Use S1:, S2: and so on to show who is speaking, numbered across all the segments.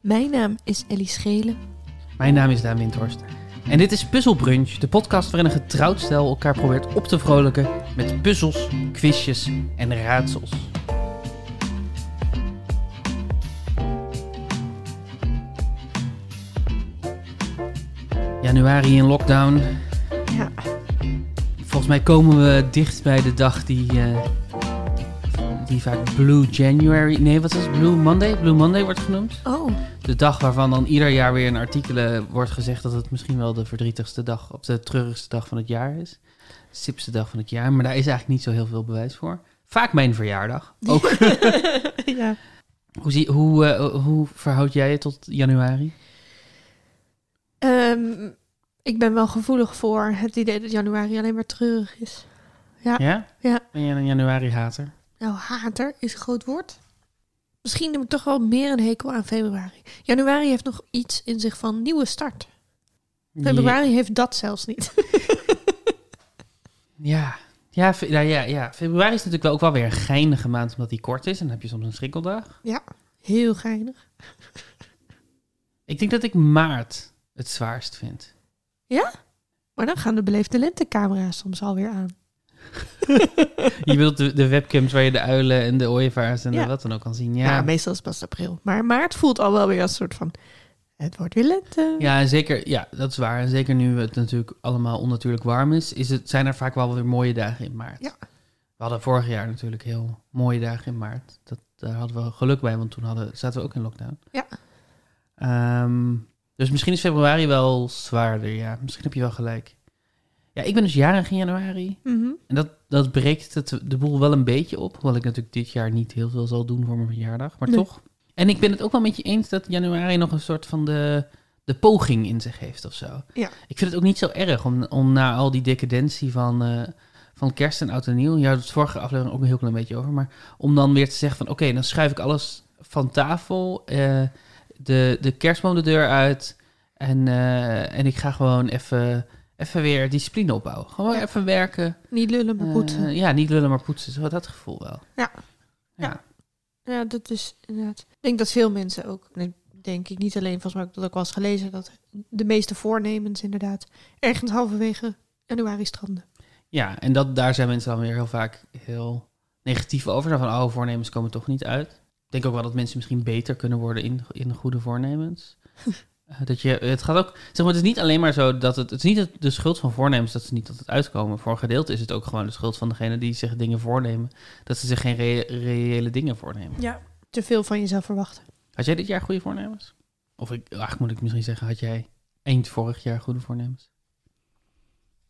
S1: Mijn naam is Ellie Schelen.
S2: Mijn naam is Daan Windhorst. En dit is Puzzle Brunch, de podcast waarin een getrouwd stel elkaar probeert op te vrolijken met puzzels, quizjes en raadsels. Januari in lockdown.
S1: Ja.
S2: Volgens mij komen we dicht bij de dag die, eh, die vaak Blue January... Nee, wat is het? Blue Monday? Blue Monday wordt genoemd.
S1: Oh,
S2: De dag waarvan dan ieder jaar weer in artikelen wordt gezegd dat het misschien wel de verdrietigste dag of de treurigste dag van het jaar is. De sipste dag van het jaar, maar daar is eigenlijk niet zo heel veel bewijs voor. Vaak mijn verjaardag. Ook.
S1: ja.
S2: hoe, zie, hoe, eh, hoe verhoud jij je tot januari?
S1: Ehm, ik ben wel gevoelig voor het idee dat januari alleen maar treurig is. Ja. Ja.
S2: Ben jij een januari-hater?
S1: Nou, hater is een groot woord. Misschien heb ik toch wel meer een hekel aan februari. Januari heeft nog iets in zich van nieuwe start. Februari heeft dat zelfs niet.
S2: Ja. Ja, fe- nou ja, ja, februari is natuurlijk wel ook wel weer een geinige maand omdat die kort is en dan heb je soms een schrikkeldag.
S1: Heel geinig.
S2: Ik denk dat ik maart het zwaarst vind.
S1: Maar dan gaan de beleefde lentecamera's soms alweer aan.
S2: Je wilt de, de webcams waar je de uilen en de ooievaars en de
S1: Ja.
S2: wat dan ook kan zien.
S1: Ja,
S2: Ja, ja,
S1: Nou, meestal is het pas april. Maar maart voelt al wel weer als een soort van... Het wordt weer lente.
S2: en zeker, ja, dat is waar. En zeker nu het natuurlijk allemaal onnatuurlijk warm is, is het, zijn er vaak wel weer mooie dagen in maart.
S1: Ja.
S2: We hadden vorig jaar natuurlijk heel mooie dagen in maart. Dat, daar hadden we geluk bij, want toen hadden, zaten we ook in lockdown.
S1: Ja.
S2: Ehm, dus misschien is februari wel zwaarder, ja. Misschien heb je wel gelijk. Ja, ik ben dus jarig in januari.
S1: Mhm.
S2: En dat, dat breekt het, de boel wel een beetje op. Hoewel ik natuurlijk dit jaar niet heel veel zal doen voor mijn verjaardag. Maar
S1: Nee.
S2: toch. En ik ben het ook wel met je eens dat januari nog een soort van de, de poging in zich heeft of zo.
S1: Ja.
S2: Ik vind het ook niet zo erg om, om na al die decadentie van, eh, van kerst en oud en nieuw. Je had het vorige aflevering ook een heel klein beetje over. Maar om dan weer te zeggen van oké, dan schuif ik alles van tafel. eh, de, de kerstboom de deur uit. En, eh, en ik ga gewoon even, even weer discipline opbouwen. Gewoon
S1: Ja.
S2: even werken.
S1: Niet lullen, maar poetsen.
S2: Eh, ja, niet lullen, maar poetsen. Zo dat gevoel wel.
S1: Ja.
S2: Ja.
S1: Ja, dat is inderdaad. Ik denk dat veel mensen ook, nee, denk ik niet alleen, volgens mij heb ik dat ook wel eens gelezen, dat de meeste voornemens inderdaad ergens halverwege januari stranden.
S2: Ja, en dat, daar zijn mensen dan weer heel vaak heel negatief over. Zo Van, oh, voornemens komen toch niet uit. Ik denk ook wel dat mensen misschien beter kunnen worden in, in goede voornemens. Eh, dat je, het gaat ook, zeg maar, het is niet alleen maar zo dat het, het is niet het- de schuld van voornemens dat ze niet altijd uitkomen. Voor een gedeelte is het ook gewoon de schuld van degene die zich dingen voornemen, dat ze zich geen re- reële dingen voornemen.
S1: Ja. Te veel van jezelf verwachten.
S2: Had jij dit jaar goede voornemens? Of ik, eigenlijk moet ik misschien zeggen, had jij eind vorig jaar goede voornemens?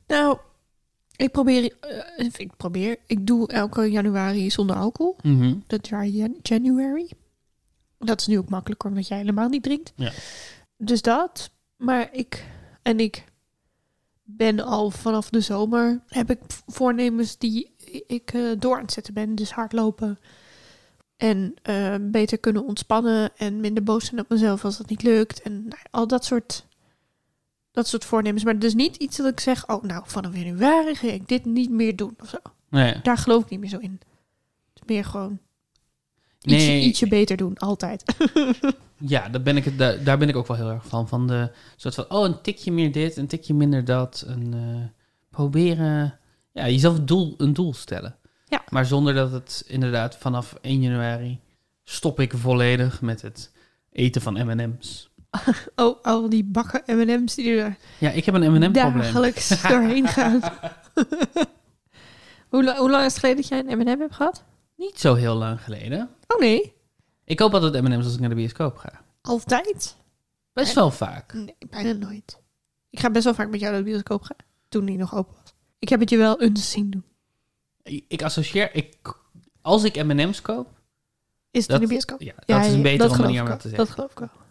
S1: Nou, ik probeer, eh, ik probeer, ik doe elke januari zonder alcohol.
S2: Mhm.
S1: Dat jaar jan- January. Dat is nu ook makkelijker, omdat jij helemaal niet drinkt.
S2: Ja.
S1: Dus dat. Maar ik en ik ben al vanaf de zomer heb ik v- voornemens die ik eh, door aan het zetten ben. Dus hardlopen. En eh, beter kunnen ontspannen en minder boos zijn op mezelf als dat niet lukt. En nou, al dat soort, dat soort voornemens. Maar dus niet iets dat ik zeg, oh nou, vanaf januari ga ik dit niet meer doen of zo.
S2: Nee.
S1: Daar geloof ik niet meer zo in. Het is meer gewoon
S2: Nee.
S1: ietsje, ietsje beter doen, altijd.
S2: Ja, daar ben, ik, het- daar, daar ben ik ook wel heel erg van. Van de soort van, oh, een tikje meer dit, een tikje minder dat. Een, eh, proberen, ja, jezelf een doel, een doel stellen.
S1: Ja.
S2: Maar zonder dat het inderdaad vanaf 1 januari stop ik volledig met het eten van M&M's.
S1: Oh, al die bakken M&M's die er
S2: Ja, ik heb een M&M M&M-probleem.
S1: dagelijks doorheen gaan. hoe, la- hoe lang is het geleden dat jij een M&M hebt gehad?
S2: Niet zo heel lang geleden.
S1: Oh nee,
S2: Ik koop altijd M&M's als ik naar de bioscoop ga.
S1: altijd?
S2: Best wel vaak.
S1: Nee, bijna nooit. Ik ga best wel vaak met jou naar de bioscoop gaan, toen die nog open was. Ik heb het je wel eens zien doen.
S2: Ik, ik associeer, ik, als ik M&M's koop,
S1: Is het
S2: Dat-
S1: in de bioscoop?
S2: ja, dat is een betere
S1: dat geloof
S2: manier om
S1: ik
S2: dat te
S1: wel.
S2: zeggen.
S1: Dat geloof ik wel.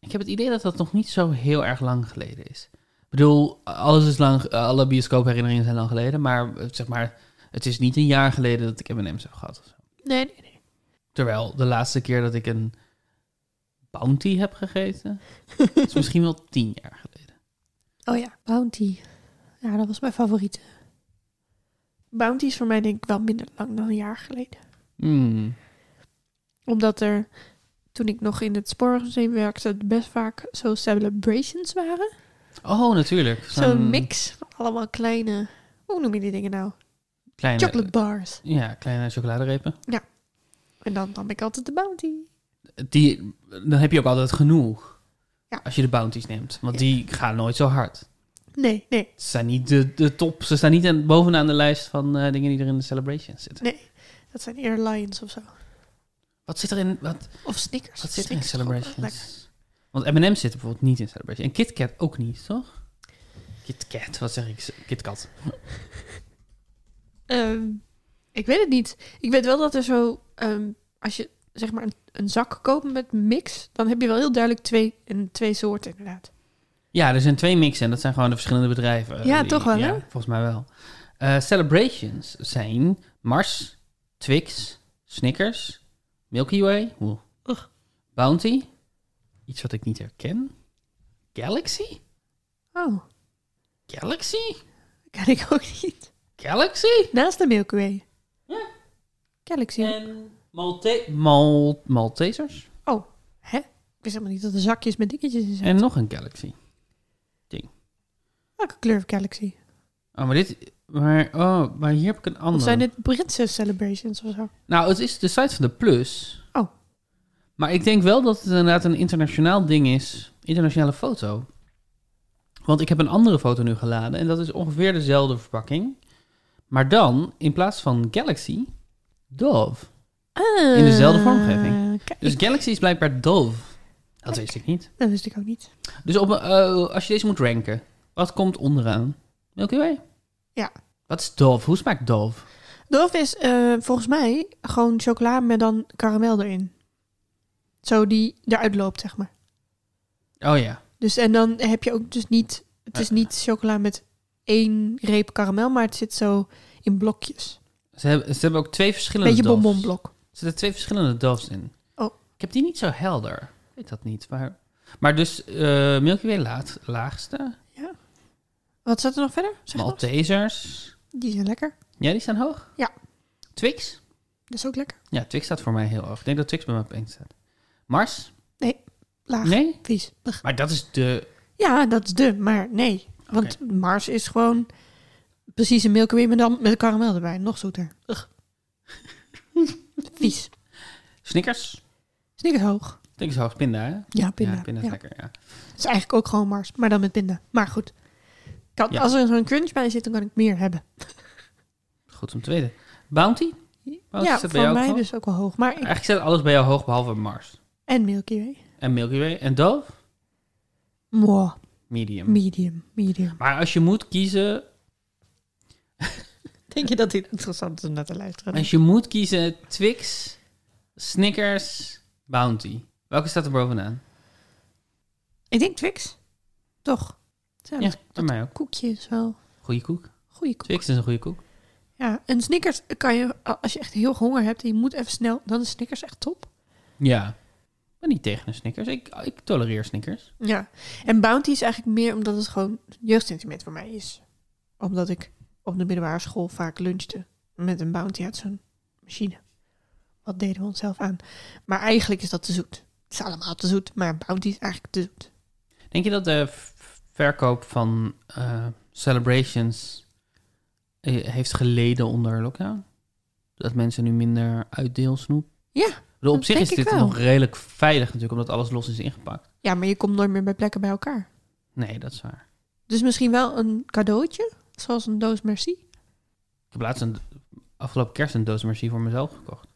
S2: Ik heb het idee dat dat nog niet zo heel erg lang geleden is. Ik bedoel, alles is lang, alle bioscoopherinneringen zijn lang geleden, maar eh, zeg maar, het is niet een jaar geleden dat ik M&M's heb gehad. of zo.
S1: Nee, nee, nee.
S2: Terwijl de laatste keer dat ik een Bounty heb gegeten, is misschien wel tien jaar geleden.
S1: Oh ja, Bounty. Ja, dat was mijn favoriete. Bounty is voor mij denk ik wel minder lang dan een jaar geleden.
S2: Hmm.
S1: Omdat er toen ik nog in het Spoorwegmuseum werkte, best vaak zo celebrations waren.
S2: Oh, natuurlijk.
S1: Zo'n mix van allemaal kleine, hoe noem je die dingen nou?
S2: Kleine,
S1: Chocolate bars.
S2: Ja, kleine chocoladerepen.
S1: En dan nam ik altijd de bounty.
S2: Die, dan heb je ook altijd genoeg.
S1: Ja.
S2: Als je de bounties neemt. Want
S1: Ja.
S2: die gaan nooit zo hard.
S1: Nee, nee,
S2: Ze staan niet de, de top. Ze staan niet aan, bovenaan de lijst van eh, dingen die er in de celebration zitten.
S1: nee. Dat zijn airlines of zo.
S2: Wat zit er in, wat,
S1: Of Snickers.
S2: wat zit er in
S1: Snickers vond ik wel lekker.
S2: celebrations? Want M&M's zitten bijvoorbeeld niet in celebration. En KitKat ook niet, toch? KitKat, wat zeg ik? KitKat.
S1: Ehm, ik weet het niet. Ik weet wel dat er zo, ehm, als je zeg maar een, een zak koopt met mix, dan heb je wel heel duidelijk twee, en twee soorten inderdaad.
S2: Ja, er zijn twee mixen en dat zijn gewoon de verschillende bedrijven. eh,
S1: Ja,
S2: Die-
S1: toch wel, hè?
S2: Ja, volgens mij wel. Eh, celebrations zijn Mars, Twix, Snickers, Milky Way, oeh,
S1: Ugh.
S2: Bounty, iets wat ik niet herken, Galaxy,
S1: Oh,
S2: Galaxy,
S1: dat ken ik ook niet.
S2: Galaxy
S1: Naast de Milky Way.
S2: Ja. Eh.
S1: Galaxy.
S2: en Malte Mal Maltesers
S1: Oh, hè? Ik wist helemaal niet dat er zakjes met dingetjes in zijn.
S2: en nog een Galaxy.
S1: Welke kleur heeft Galaxy?
S2: Oh, maar dit, maar, oh, maar hier heb ik een andere.
S1: Of zijn dit Britse celebrations of zo?
S2: Nou, het is de site van de Plus.
S1: Oh.
S2: Maar ik denk wel dat het inderdaad een internationaal ding is. Internationale foto. Want ik heb een andere foto nu geladen. En dat is ongeveer dezelfde verpakking. Maar dan, in plaats van Galaxy, Dove. In dezelfde vormgeving.
S1: Eh, Kijk,
S2: Dus Galaxy is blijkbaar Dove. Dat wist ik niet.
S1: dat wist ik ook niet.
S2: Dus op, een- eh, als je deze moet ranken, wat komt onderaan? Milky Way?
S1: Ja.
S2: Wat is Dove? Hoe smaakt Dove?
S1: Dove is eh, volgens mij gewoon chocola met dan karamel erin. Zo die eruit loopt, zeg maar.
S2: Oh ja.
S1: Dus en dan heb je ook dus niet... Het is
S2: Eh.
S1: niet chocola met één reep karamel, maar het zit zo in blokjes.
S2: Ze hebben, ze hebben ook twee verschillende
S1: Beetje
S2: Doves.
S1: bonbonblok.
S2: Er zitten twee verschillende doves in.
S1: Oh.
S2: Ik heb die niet zo helder. Ik weet dat niet. Maar, maar dus eh Milky Way laat, laagste.
S1: Wat zat er nog verder? Zeg nog.
S2: Maltesers.
S1: Die zijn lekker.
S2: Ja, die staan hoog.
S1: Ja.
S2: Twix.
S1: Dat is ook lekker.
S2: Ja, Twix staat voor mij heel hoog. Ik denk dat Twix bij mij op één staat. Mars.
S1: Laag.
S2: Nee.
S1: Vies. Ugh.
S2: Maar dat is de...
S1: Ja, dat is de, maar nee. Want Mars is gewoon precies een Milky Way, maar dan met karamel erbij. Nog zoeter. Ugh. Vies.
S2: Snickers.
S1: Snickers hoog.
S2: Snickers hoog. Pinda, hè?
S1: Ja, pinda.
S2: Ja, pinda is
S1: Ja.
S2: lekker, ja.
S1: Het is eigenlijk ook gewoon Mars, maar dan met pinda. Maar goed. Kan,
S2: Ja.
S1: Als er zo'n crunch bij zit, dan kan ik meer hebben.
S2: Goed om te weten. Bounty. Wat
S1: ja,
S2: is dat
S1: voor
S2: bij jou ook
S1: mij
S2: hoog?
S1: dus ook wel hoog. Maar ik,
S2: Eigenlijk staat alles bij jou hoog, behalve Mars.
S1: en Milky Way.
S2: En Milky Way. En Dove.
S1: Mwah,
S2: Medium.
S1: medium, medium.
S2: maar als je moet kiezen
S1: Denk je dat dit interessant is om naar te luisteren?
S2: Als je moet kiezen Twix, Snickers, Bounty. Welke staat er bovenaan?
S1: Ik denk Twix. Toch? Zijn
S2: Ja,
S1: dat
S2: bij mij ook.
S1: koekje is wel
S2: Goeie koek.
S1: goede koek.
S2: Twix is een goede koek.
S1: Ja, en Snickers kan je, als je echt heel honger hebt en je moet even snel, dan is Snickers echt top.
S2: Ja. Ik ben niet tegen een Snickers. Ik, ik tolereer Snickers.
S1: Ja, en Bounty is eigenlijk meer omdat het gewoon jeugdsentiment voor mij is. Omdat ik op de middelbare school vaak lunchte met een Bounty uit zo'n machine. Wat deden we onszelf aan? Maar eigenlijk is dat te zoet. Het is allemaal te zoet, maar Bounty is eigenlijk te zoet.
S2: Denk je dat de v- verkoop van eh, Celebrations eh, heeft geleden onder lockdown? Dat mensen nu minder uitdeelsnoep?
S1: Ja,
S2: Ik bedoel, op
S1: dat
S2: zich
S1: denk
S2: is
S1: ik
S2: dit
S1: wel.
S2: nog redelijk veilig natuurlijk, omdat alles los is ingepakt.
S1: Ja, maar je komt nooit meer bij plekken bij elkaar.
S2: Nee, dat is waar.
S1: Dus misschien wel een cadeautje, zoals een doos merci.
S2: Ik heb laatst een, afgelopen kerst een doos merci voor mezelf gekocht.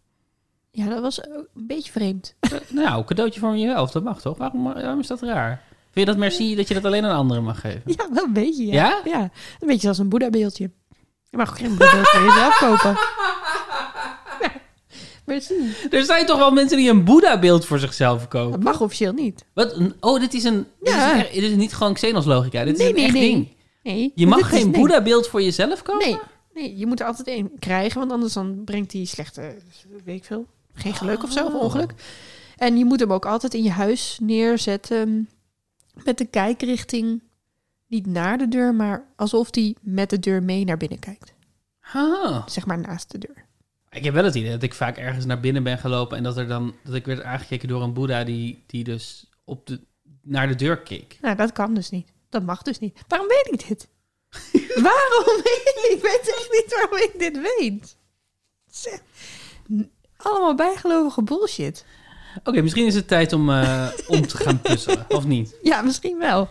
S1: Ja, dat was eh, een beetje vreemd.
S2: Nou, een cadeautje voor jezelf, dat mag toch? Waarom, eh, waarom is dat raar? Vind je dat merci dat je dat alleen aan anderen mag geven?
S1: Ja, wel een beetje, ja.
S2: Ja?
S1: Ja, een beetje als een Boeddha-beeldje. Je mag ook geen Boeddha-beeld voor jezelf kopen. Merci.
S2: Er zijn toch wel mensen die een Boeddha-beeld voor zichzelf kopen?
S1: Dat mag officieel niet.
S2: Wat? een- Oh, dit is een. Dit,
S1: Ja.
S2: is, echt- dit is niet gewoon Xenos-logica. Dit
S1: Nee,
S2: is een
S1: nee,
S2: echt
S1: nee.
S2: ding.
S1: Nee.
S2: Je
S1: dit
S2: mag
S1: is-
S2: geen
S1: nee.
S2: Boeddha-beeld voor jezelf kopen?
S1: Nee, nee, je moet er altijd één krijgen, want anders dan brengt die slechte, weet ik veel, geen geluk of zo, of
S2: Oh.
S1: ongeluk. En je moet hem ook altijd in je huis neerzetten met de kijkrichting niet naar de deur, maar alsof die met de deur mee naar binnen kijkt.
S2: Ah.
S1: Zeg maar naast de deur.
S2: Ik heb wel het idee dat ik vaak ergens naar binnen ben gelopen en dat, er dan, dat ik werd aangekeken door een boeddha die, die dus op de, naar de deur keek.
S1: Nou, dat kan dus niet. Dat mag dus niet. Waarom weet ik dit? waarom weet ik? Ik weet echt niet waarom ik dit weet. Het is echt n- Allemaal bijgelovige bullshit.
S2: Oké, misschien is het tijd om, eh, om te gaan puzzelen, of niet?
S1: Ja, misschien wel.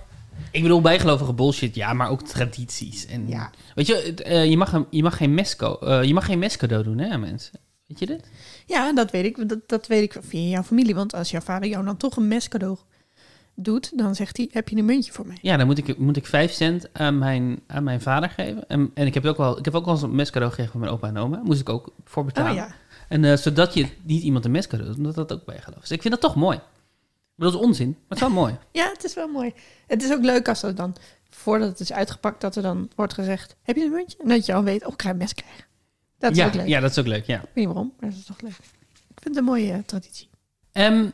S2: Ik bedoel, bijgelovige bullshit, ja, maar ook tradities. En,
S1: Ja.
S2: Weet je, het, eh, je, mag, hem- je, mag geen mes ko- eh, je mag geen mes cadeau doen, hè, aan mensen? Weet je dit?
S1: Ja, dat weet ik. Dat, dat weet ik via jouw familie. Want als jouw vader jou dan toch een mes cadeau doet, dan zegt hij: Heb je een muntje voor mij?
S2: Ja, dan moet ik, moet ik 5 cent aan mijn, aan mijn vader geven. En, en ik, heb ook wel, ik heb ook wel eens een mes cadeau gegeven van mijn opa en oma. Moest ik ook voor betalen.
S1: Oh ja.
S2: En eh, zodat je niet iemand een mes cadeau doet, omdat dat ook bijgeloof is. Ik vind dat toch mooi. Maar Dat is onzin, maar het is wel mooi.
S1: Ja, het is wel mooi. Het is ook leuk als er dan, voordat het is uitgepakt, dat er dan wordt gezegd: Heb je een muntje? En dat je al weet: Oh, ik ga een mes krijgen. Dat is
S2: ja,
S1: ook leuk.
S2: ja, dat is ook leuk, ja.
S1: Ik weet niet waarom, maar dat is toch leuk. Ik vind het een mooie eh, traditie.
S2: Ehm,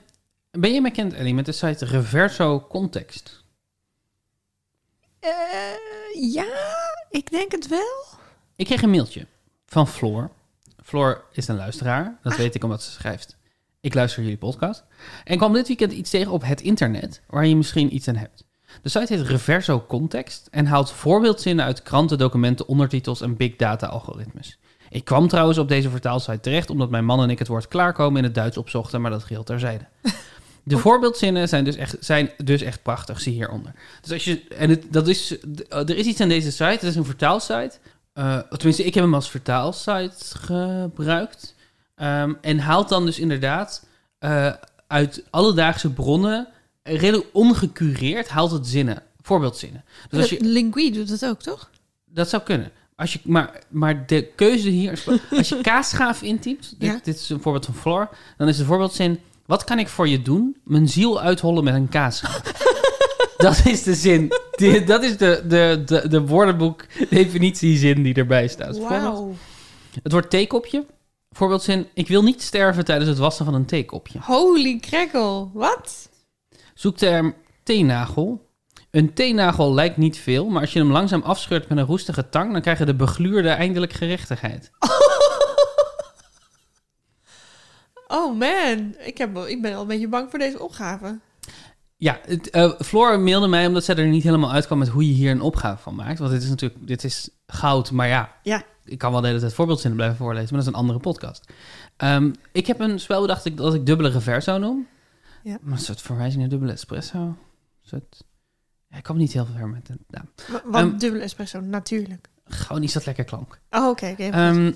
S2: ben je bekend, Ellie, met de site Reverso Context?
S1: Eh, ja, ik denk het wel.
S2: Ik kreeg een mailtje van Floor. Floor is een luisteraar. Dat weet ik omdat ze schrijft. Ik luister jullie podcast. En kwam dit weekend iets tegen op het internet waar je misschien iets aan hebt. De site heet Reverso Context en haalt voorbeeldzinnen uit kranten, documenten, ondertitels en big data algoritmes. Ik kwam trouwens op deze vertaalsite terecht omdat mijn man en ik het woord klaarkomen in het Duits opzochten, maar dat geheel terzijde. De voorbeeldzinnen zijn dus echt, zijn dus echt prachtig, zie hieronder. Dus als je, en het, dat is, d- eh, er is iets aan deze site, het is een vertaalsite. Eh, tenminste, ik heb hem als vertaalsite gebruikt. Ehm, en haalt dan dus inderdaad eh, uit alledaagse bronnen, eh, redelijk ongecureerd, haalt het zinnen, voorbeeldzinnen. Dus als
S1: Dat-
S2: je,
S1: Lingui doet dat ook, toch?
S2: dat zou kunnen. Als je, maar, maar de keuze hier is, als je kaasschaaf intypt, dit,
S1: Ja.
S2: dit is een voorbeeld van Floor, dan is het voorbeeldzin, wat kan ik voor je doen? Mijn ziel uithollen met een kaasschaaf. dat is de zin, die- dat is de, de, de, de woordenboek definitiezin die erbij staat. Voorbeeld- het woord theekopje. Voorbeeldzin, ik wil niet sterven tijdens het wassen van een theekopje.
S1: Holy crackle, wat?
S2: Zoekterm teenagel. Een teenagel lijkt niet veel, maar als je hem langzaam afscheurt met een roestige tang, dan krijgen de begluurde eindelijk gerechtigheid.
S1: Oh man, ik, heb, wel- ik ben al een beetje bang voor deze opgave.
S2: Ja, het, eh, Floor mailde mij omdat zij er niet helemaal uitkwam met hoe je hier een opgave van maakt. Want dit is natuurlijk, dit is goud, maar ja,
S1: Ja.
S2: ik kan wel de hele tijd voorbeeldzinnen blijven voorlezen, maar dat is een andere podcast. Ehm, ik heb een spel bedacht dat ik dubbele reverso noem.
S1: Ja.
S2: Maar Een soort verwijzing naar dubbele espresso. Een soort... Ja, ik kwam niet heel ver met de naam.
S1: Wa- Want
S2: Ehm.
S1: dubbele espresso, natuurlijk.
S2: Gewoon is dat lekker klank.
S1: Oh, oké. oké, even goed.
S2: Ehm,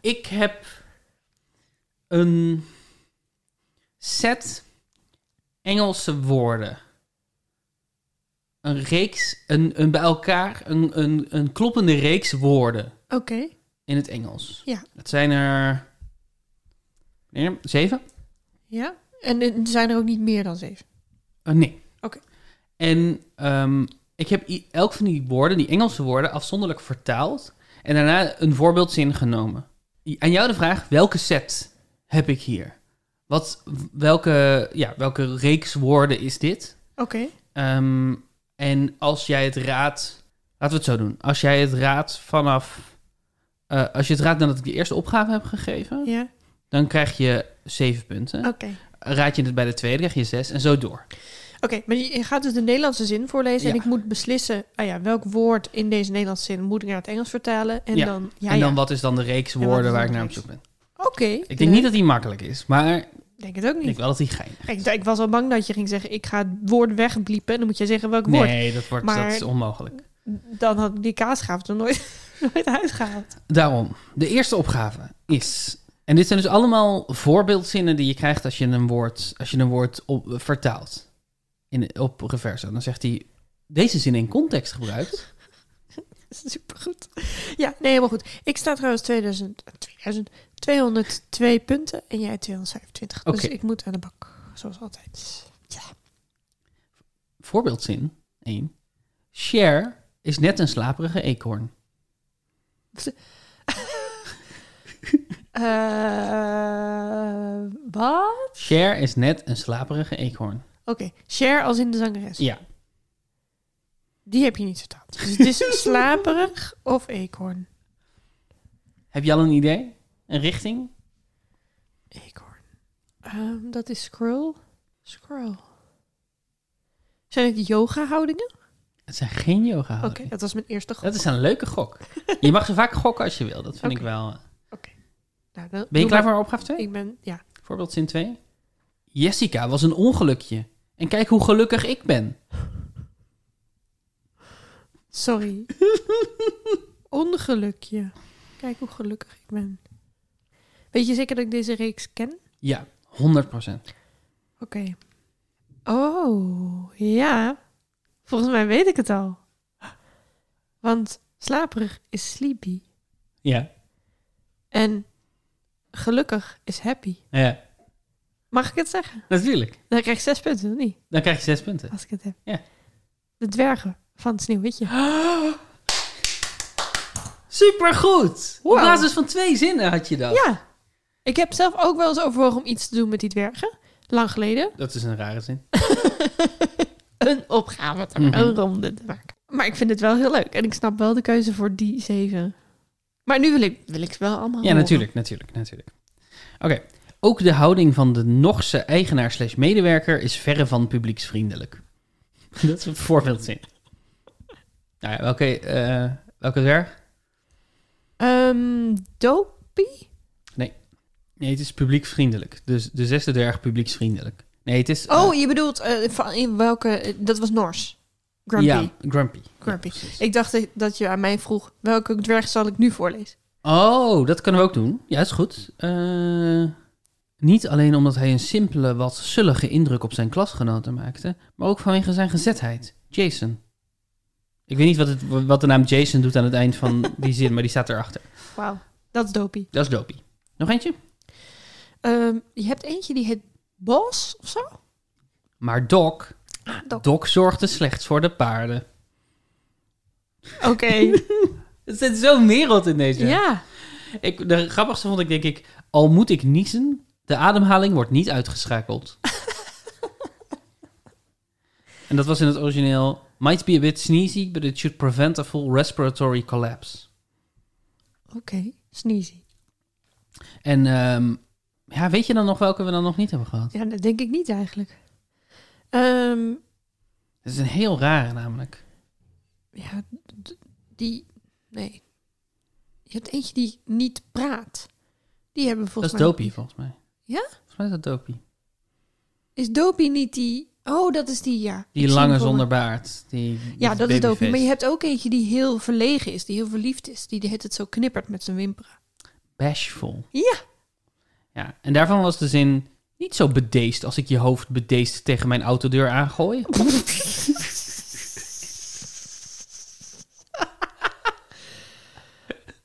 S2: ik heb een set Engelse woorden. Een reeks, een, een bij elkaar, een, een, een kloppende reeks woorden
S1: Oké,
S2: in het Engels.
S1: Ja.
S2: Het zijn er eh, zeven.
S1: ja. En er zijn er ook niet meer dan zeven.
S2: Eh, nee.
S1: Oké.
S2: En ehm, ik heb i- elk van die woorden, die Engelse woorden, afzonderlijk vertaald. En daarna een voorbeeldzin genomen. I- Aan jou de vraag, welke set heb ik hier? Wat, welke, ja, welke reeks woorden is dit?
S1: Oké.
S2: Ehm, en als jij het raadt... Laten we het zo doen. Als jij het raadt vanaf... eh, als je het raadt nadat ik de eerste opgave heb gegeven...
S1: Ja,
S2: dan krijg je zeven punten.
S1: oké.
S2: Raad je het bij de tweede, krijg je zes. En zo door.
S1: Oké, maar je je gaat dus de Nederlandse zin voorlezen en
S2: Ja.
S1: ik moet beslissen, ah ja, welk woord in deze Nederlandse zin moet ik naar het Engels vertalen? En
S2: Ja,
S1: dan, ja,
S2: en dan
S1: ja.
S2: wat is dan de reeks
S1: wat is
S2: woorden
S1: dan
S2: waar
S1: de
S2: ik naar op
S1: reeks?
S2: zoek ben?
S1: Oké.
S2: Ik denk niet dat die makkelijk is, maar ik
S1: Denk het ook
S2: denk
S1: niet.
S2: wel dat die geinig
S1: Ik, ik was al bang dat je ging zeggen, ik ga het woord wegbliepen en dan moet jij zeggen welk woord.
S2: Nee, dat, wordt,
S1: Maar-
S2: dat is onmogelijk.
S1: Dan had ik die kaasgaaf er nooit, nooit uitgehaald.
S2: Daarom, de eerste opgave is... En dit zijn dus allemaal voorbeeldzinnen die je krijgt als je een woord, als je een woord op, vertaalt. In, op reverse. Dan zegt hij, deze zin in context gebruikt.
S1: Supergoed. Ja, nee, helemaal goed. Ik sta trouwens 2000, 2000, 202 punten en jij 225. Dus
S2: Oké.
S1: ik moet aan de bak, zoals altijd.
S2: Voorbeeldzin 1. Cher is net een slaperige eekhoorn.
S1: Eh, wat?
S2: Cher is net een slaperige eekhoorn.
S1: Oké, Cher als in de zangeres.
S2: Ja,
S1: Die heb je niet vertaald. Dus het is slaperig of eekhoorn.
S2: heb je al een idee? Een richting?
S1: Eekhoorn. Ehm, dat is scroll. Scroll. Zijn het yoga-houdingen?
S2: Het zijn geen yoga
S1: Oké, dat was mijn eerste gok.
S2: Oh, Dat is een leuke gok. je mag zo vaak gokken als je wil. Dat vind ik
S1: Oké.
S2: wel.
S1: Nou, dan-
S2: Ben je
S1: doe
S2: klaar
S1: maar.
S2: voor opgave 2?
S1: Ik ben, ja.
S2: Voorbeeldzin 2. Jessica was een ongelukje. En kijk hoe gelukkig ik ben.
S1: Sorry. Ongelukje. Kijk hoe gelukkig ik ben. Weet je zeker dat ik deze reeks ken?
S2: Ja, 100%.
S1: Oké. Oh, ja. Volgens mij weet ik het al. Want slaperig is sleepy.
S2: Ja.
S1: En gelukkig is happy.
S2: ja,
S1: Mag ik het zeggen?
S2: natuurlijk.
S1: Dan krijg ik zes punten, of niet?
S2: Dan krijg je zes punten.
S1: Als ik het heb.
S2: Ja.
S1: De dwergen van het Sneeuwwitje.
S2: Supergoed!
S1: Wow.
S2: Op basis van twee zinnen had je dat.
S1: Ja. Ik heb zelf ook wel eens overwogen om iets te doen met die dwergen. Lang geleden.
S2: Dat is een rare zin.
S1: Een opgave, te
S2: Mhm.
S1: een ronde te maken. Maar ik vind het wel heel leuk. En ik snap wel de keuze voor die zeven. Maar nu wil ik, wil ik ze wel allemaal
S2: Ja,
S1: horen.
S2: natuurlijk, natuurlijk, natuurlijk. Oké. Ook de houding van de Norse eigenaar slash medewerker is verre van publieksvriendelijk. Dat is een voorbeeldzin. Nou ja, welke, eh welke dwerg?
S1: Ehm dopie?
S2: Nee, het is publieksvriendelijk. Dus de zesde dwerg publieksvriendelijk. Nee, het is... eh,
S1: Oh, je bedoelt eh, van in welke... eh, dat was Nors. Grumpy.
S2: eh, Ja, Grumpy.
S1: Grumpy.
S2: Ja, precies.
S1: Ik dacht dat je aan mij vroeg... welke dwerg zal ik nu voorlezen?
S2: Oh, dat kunnen we ook doen. Ja, is goed. Eh, niet alleen omdat hij een simpele, wat zullige indruk op zijn klasgenoten maakte, maar ook vanwege zijn gezetheid. Jason. Ik weet niet wat, het, wat de naam Jason doet aan het eind van die zin, maar die staat erachter.
S1: Wauw, dat is dopie.
S2: Dat is dopey. Nog eentje?
S1: Ehm, je hebt eentje die heet Bos of zo?
S2: Maar Doc,
S1: Ah, dop.
S2: Doc zorgde slechts voor de paarden.
S1: Oké.
S2: Er zit zo'n wereld in deze.
S1: ja.
S2: Ik, de grappigste vond ik, denk ik, al moet ik niezen, de ademhaling wordt niet uitgeschakeld. en dat was in het origineel, might be a bit sneezy, but it should prevent a full respiratory collapse.
S1: Oké, sneezy.
S2: En ehm, ja, weet je dan nog welke we dan nog niet hebben gehad?
S1: Ja, dat denk ik niet eigenlijk. Ehm,
S2: Het is een heel rare namelijk.
S1: ja, d- die... Nee. Je hebt eentje die niet praat. Die hebben we volgens
S2: dat
S1: mij...
S2: is dopie volgens mij.
S1: Ja?
S2: Volgens mij is dat dopie.
S1: Is dopie niet die... Oh, dat is die, ja.
S2: Die
S1: Ik zie
S2: lange
S1: hem voor me.
S2: zonder baard. Die,
S1: Ja, dat is dopie.
S2: babyface.
S1: Maar je hebt ook eentje die heel verlegen is. Die heel verliefd is. Die de hele tijd zo knippert met zijn wimperen.
S2: Bashful.
S1: Ja.
S2: Ja, en daarvan was de zin niet zo bedeesd als ik je hoofd bedeesd tegen mijn autodeur aangooi.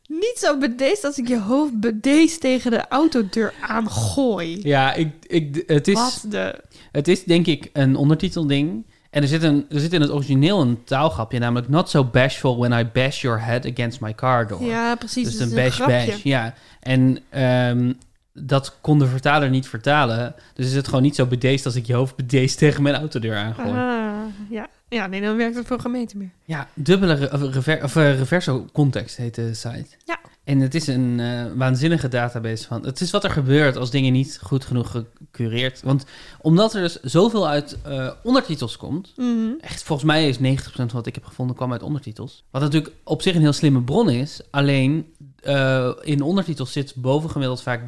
S1: Niet zo bedeesd als ik je hoofd bedeesd tegen de autodeur aangooi.
S2: Ja, ik, ik, het, is,
S1: Wat de...
S2: het is denk ik een ondertitelding. En er zit, een, er zit in het origineel een taalgrapje, namelijk not so bashful when I bash your head against my car door.
S1: Ja, precies.
S2: dus
S1: het
S2: een
S1: is
S2: bash
S1: grapje.
S2: bash. Ja, en ehm, dat kon de vertaler niet vertalen. Dus is het gewoon niet zo bedeesd als ik je hoofd bedeesd tegen mijn autodeur aangooi.
S1: Ah, ja. ja, nee, dan werkt het voor gemeente meer.
S2: Ja, dubbele re- of rever- of, eh, reverso context heet de site.
S1: Ja.
S2: En het is een eh, waanzinnige database van. Het is wat er gebeurt als dingen niet goed genoeg gecureerd. Want omdat er dus zoveel uit eh, ondertitels komt.
S1: Mhm.
S2: Echt, volgens mij is 90% van wat ik heb gevonden kwam uit ondertitels. Wat natuurlijk op zich een heel slimme bron is. Alleen eh, in ondertitels zit bovengemiddeld vaak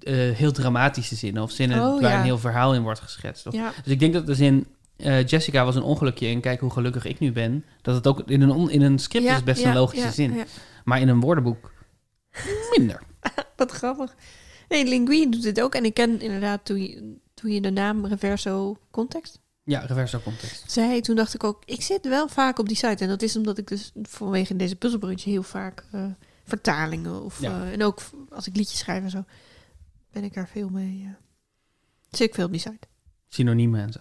S2: eh, heel dramatische zinnen. Of zinnen
S1: Oh,
S2: waar
S1: ja.
S2: een heel verhaal in wordt geschetst. Of
S1: Ja.
S2: dus ik denk dat de zin eh, Jessica was een ongelukje en kijk hoe gelukkig ik nu ben. Dat het ook in een, on- in een script
S1: Ja,
S2: is best
S1: ja,
S2: een logische
S1: ja,
S2: zin.
S1: ja.
S2: Maar in een woordenboek minder.
S1: Wat grappig. Nee, Linguine doet dit ook. En ik ken inderdaad toen je, toen je de naam Reverso Context
S2: Ja, reverso context.
S1: zei, toen dacht ik ook, ik zit wel vaak op die site. En dat is omdat ik dus vanwege deze puzzelbrunch heel vaak eh, vertalingen of
S2: Ja.
S1: eh, en ook v- als ik liedjes schrijf en zo, ben ik daar veel mee. eh, zit ik veel op die site.
S2: Synoniemen en zo.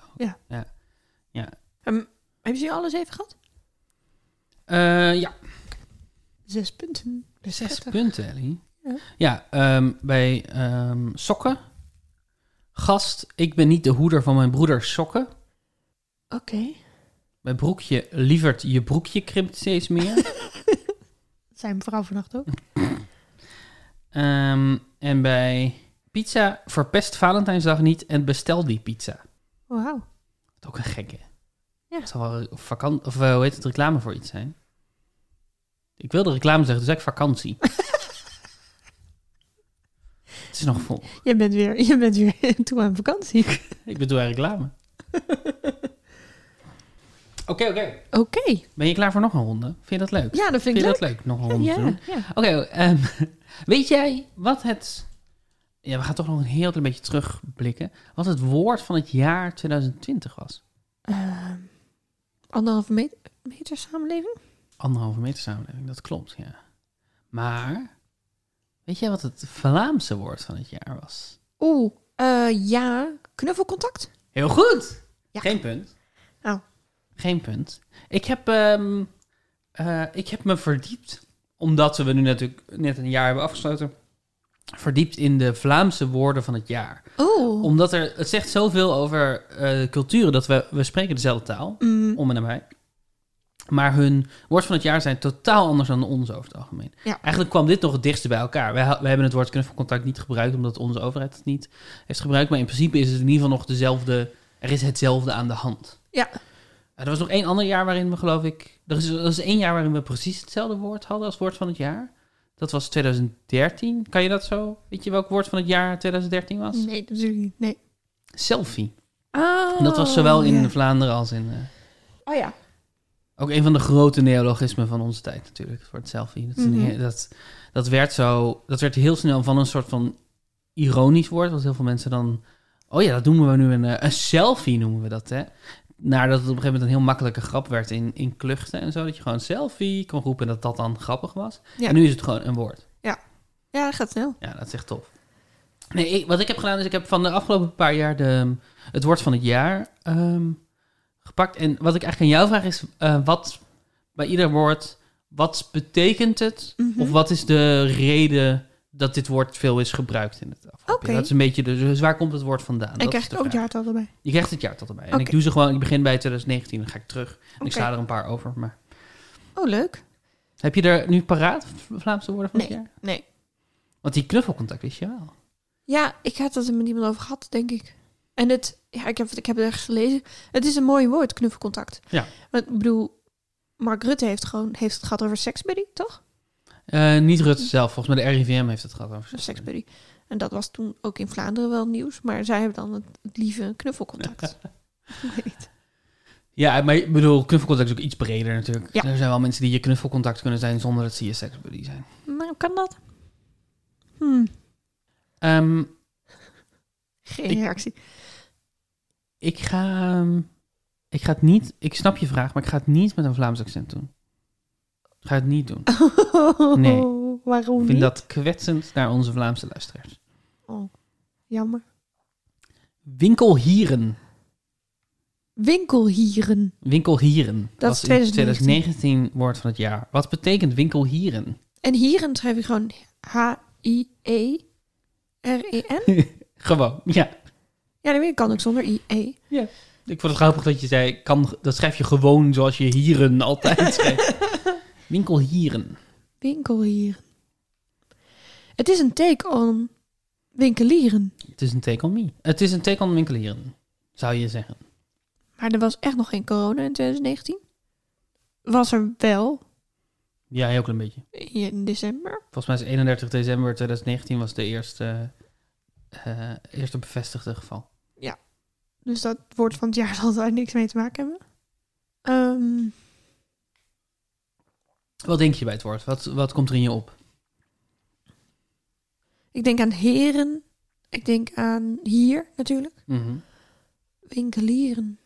S1: Ehm, hebben ze alles even gehad?
S2: Eh, ja,
S1: Zes punten. Best
S2: zes
S1: prettig.
S2: punten, Ellie.
S1: Ja.
S2: Ja, ehm, bij ehm, sokken. Gast, ik ben niet de hoeder van mijn broeder sokken.
S1: Oké.
S2: Mijn broekje, lieverd, je broekje krimpt steeds meer.
S1: Dat Zijn mevrouw vannacht ook?
S2: Ehm, en bij pizza verpest Valentijnsdag niet en bestel die pizza.
S1: Wauw.
S2: Dat is ook een gekke.
S1: Ja.
S2: Het zal wel vakant, of eh, hoe heet het, reclame voor iets zijn. Ik wilde reclame zeggen, dus zeg vakantie. het is nog vol.
S1: Je bent weer, je bent weer toe aan vakantie.
S2: Ik bedoel eigenlijk reclame. Oké, oké.
S1: Oké.
S2: Ben je klaar voor nog een ronde? Vind je dat leuk?
S1: Ja, dat vind
S2: Vind
S1: ik
S2: je
S1: leuk.
S2: dat leuk, nog een ronde te doen?
S1: Oh, Ja, ja.
S2: Oké, ehm, weet jij wat het... Ja, we gaan toch nog een heel klein beetje terugblikken. Wat het woord van het jaar 2020 was.
S1: Ehm, anderhalve meter, meter samenleving?
S2: Anderhalve meter samenleving, dat klopt, ja. Maar, weet jij wat het Vlaamse woord van het jaar was?
S1: Oeh, eh, ja. Knuffelcontact?
S2: Heel goed!
S1: Ja.
S2: Geen punt.
S1: Oh.
S2: Geen punt. Ik heb, ehm, eh, ik heb me verdiept, omdat we nu natuurlijk net een jaar hebben afgesloten... verdiept in de Vlaamse woorden van het jaar.
S1: Oh. Oeh.
S2: Omdat er, het zegt zoveel over eh, culturen dat we, we spreken dezelfde taal,
S1: Mm,
S2: om en nabij. Maar hun woord van het jaar zijn totaal anders dan de onze over het algemeen.
S1: Ja.
S2: Eigenlijk kwam dit nog het dichtste bij elkaar. Wij, ha- wij hebben het woord knuffelcontact niet gebruikt, omdat onze overheid het niet heeft gebruikt. Maar in principe is het in ieder geval nog dezelfde, er is hetzelfde aan de hand.
S1: Ja.
S2: En er was nog één ander jaar waarin we geloof ik, er is, er is één jaar waarin we precies hetzelfde woord hadden als woord van het jaar. Dat was 2013. Kan je dat zo? Weet je welk woord van het jaar 2013 was?
S1: nee, natuurlijk niet. Nee.
S2: Selfie.
S1: Oh,
S2: En dat was zowel in
S1: ja.
S2: Vlaanderen als in... eh,
S1: Oh ja.
S2: ook een van de grote neologismen van onze tijd natuurlijk, voor het selfie. Dat, is een
S1: Mhm.
S2: he- dat, dat werd zo... Dat werd heel snel van een soort van ironisch woord, wat heel veel mensen dan... Oh ja, dat noemen we nu een, eh, een selfie, noemen we dat, hè? Nadat het op een gegeven moment een heel makkelijke grap werd in, in kluchten en zo. Dat je gewoon selfie kon roepen en dat dat dan grappig was.
S1: Ja.
S2: En nu is het gewoon een woord.
S1: Ja, dat gaat snel.
S2: Ja, dat is echt tof. Nee, ik- wat ik heb gedaan is, ik heb van de afgelopen paar jaar de, ehm, het woord van het jaar ehm, gepakt. En wat ik eigenlijk aan jou vraag is, eh, wat bij ieder woord, wat betekent het?
S1: Mhm.
S2: Of wat is de reden dat dit woord veel is gebruikt in het afgelopen
S1: Oké.
S2: jaar? Dat is een beetje, de, dus waar komt het woord vandaan?
S1: en
S2: Dat
S1: krijg ik
S2: is de
S1: ook het
S2: vraag.
S1: jaartal erbij.
S2: Je krijgt het jaar tot erbij. En
S1: Oké.
S2: ik doe ze gewoon, ik begin bij 2019, dan ga ik terug. En
S1: Oké.
S2: ik sla er een paar over. Maar
S1: Oh, leuk.
S2: heb je er nu paraat Vlaamse woorden van
S1: Nee,
S2: het jaar?
S1: nee.
S2: Want die knuffelcontact wist je wel.
S1: Ja, ik had het er met iemand over gehad, denk ik. En het, ja, ik heb, ik heb het ergens gelezen. Het is een mooi woord, knuffelcontact.
S2: Ja.
S1: Want ik bedoel, Mark Rutte heeft, gewoon, heeft het gehad over seksbuddy, toch?
S2: Eh, niet Rutte zelf, volgens mij de RIVM heeft het gehad over
S1: Een
S2: seks.
S1: seksbuddy. En dat was toen ook in Vlaanderen wel nieuws. Maar zij hebben dan het, het lieve knuffelcontact. Ik weet.
S2: Ja, maar ik bedoel, knuffelcontact is ook iets breder natuurlijk.
S1: Ja.
S2: Er zijn wel mensen die je knuffelcontact kunnen zijn zonder dat ze je seksbuddy zijn.
S1: Maar kan dat? Hmm,
S2: Ehm,
S1: geen
S2: Ik-
S1: reactie.
S2: ik ga... ehm, ik ga het niet... Ik snap je vraag, maar ik ga het niet met een Vlaams accent doen. Ik ga het niet doen. Nee.
S1: Waarom
S2: Ik
S1: niet?
S2: vind dat kwetsend naar onze Vlaamse luisteraars.
S1: Oh, jammer.
S2: Winkelhieren.
S1: Winkelhieren.
S2: Winkelhieren.
S1: Dat
S2: was
S1: is
S2: in
S1: 2019.
S2: 2019 woord van het jaar. Wat betekent winkelhieren?
S1: En hieren schrijf je gewoon E H-I-E-R-E-N.
S2: Gewoon, ja.
S1: E Ja, dat weet ik, kan ook zonder E. I-E.
S2: Ik vond het grappig dat je zei, kan, dat schrijf je gewoon zoals je hieren altijd schrijft. Winkelhieren.
S1: Winkelhieren. Het is een take on winkelieren.
S2: Het is een take on me. Het is een take on winkelieren, zou je zeggen.
S1: Maar er was echt nog geen corona in 2019. Was er wel
S2: Ja, heel klein beetje.
S1: in december.
S2: Volgens mij is 31 december 2019 was de eerste, eh, eerste bevestigde geval.
S1: Dus dat woord van het jaar zal daar niks mee te maken hebben. Ehm,
S2: Wat denk je bij het woord? Wat, wat komt er in je op?
S1: ik denk aan heren. Ik denk aan hier natuurlijk.
S2: Mhm.
S1: Winkelieren.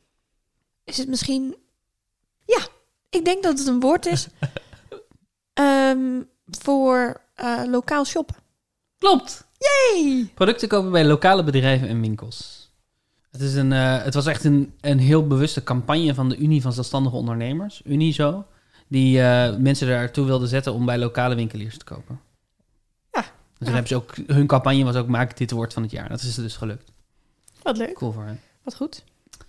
S1: Is het misschien. Ja, ik denk dat het een woord is. ehm, voor eh, lokaal shoppen.
S2: Klopt!
S1: Hey!
S2: Producten kopen bij lokale bedrijven en winkels. Het, is een, eh, het was echt een, een heel bewuste campagne van de Unie van Zelfstandige Ondernemers, Unizo, die eh, mensen daartoe wilden zetten om bij lokale winkeliers te kopen.
S1: Ja.
S2: Dus
S1: Ja.
S2: dan hebben ze ook, hun campagne was ook maak dit woord van het jaar. Dat is dus gelukt.
S1: Wat leuk.
S2: Cool voor hen.
S1: Wat goed.
S2: Dus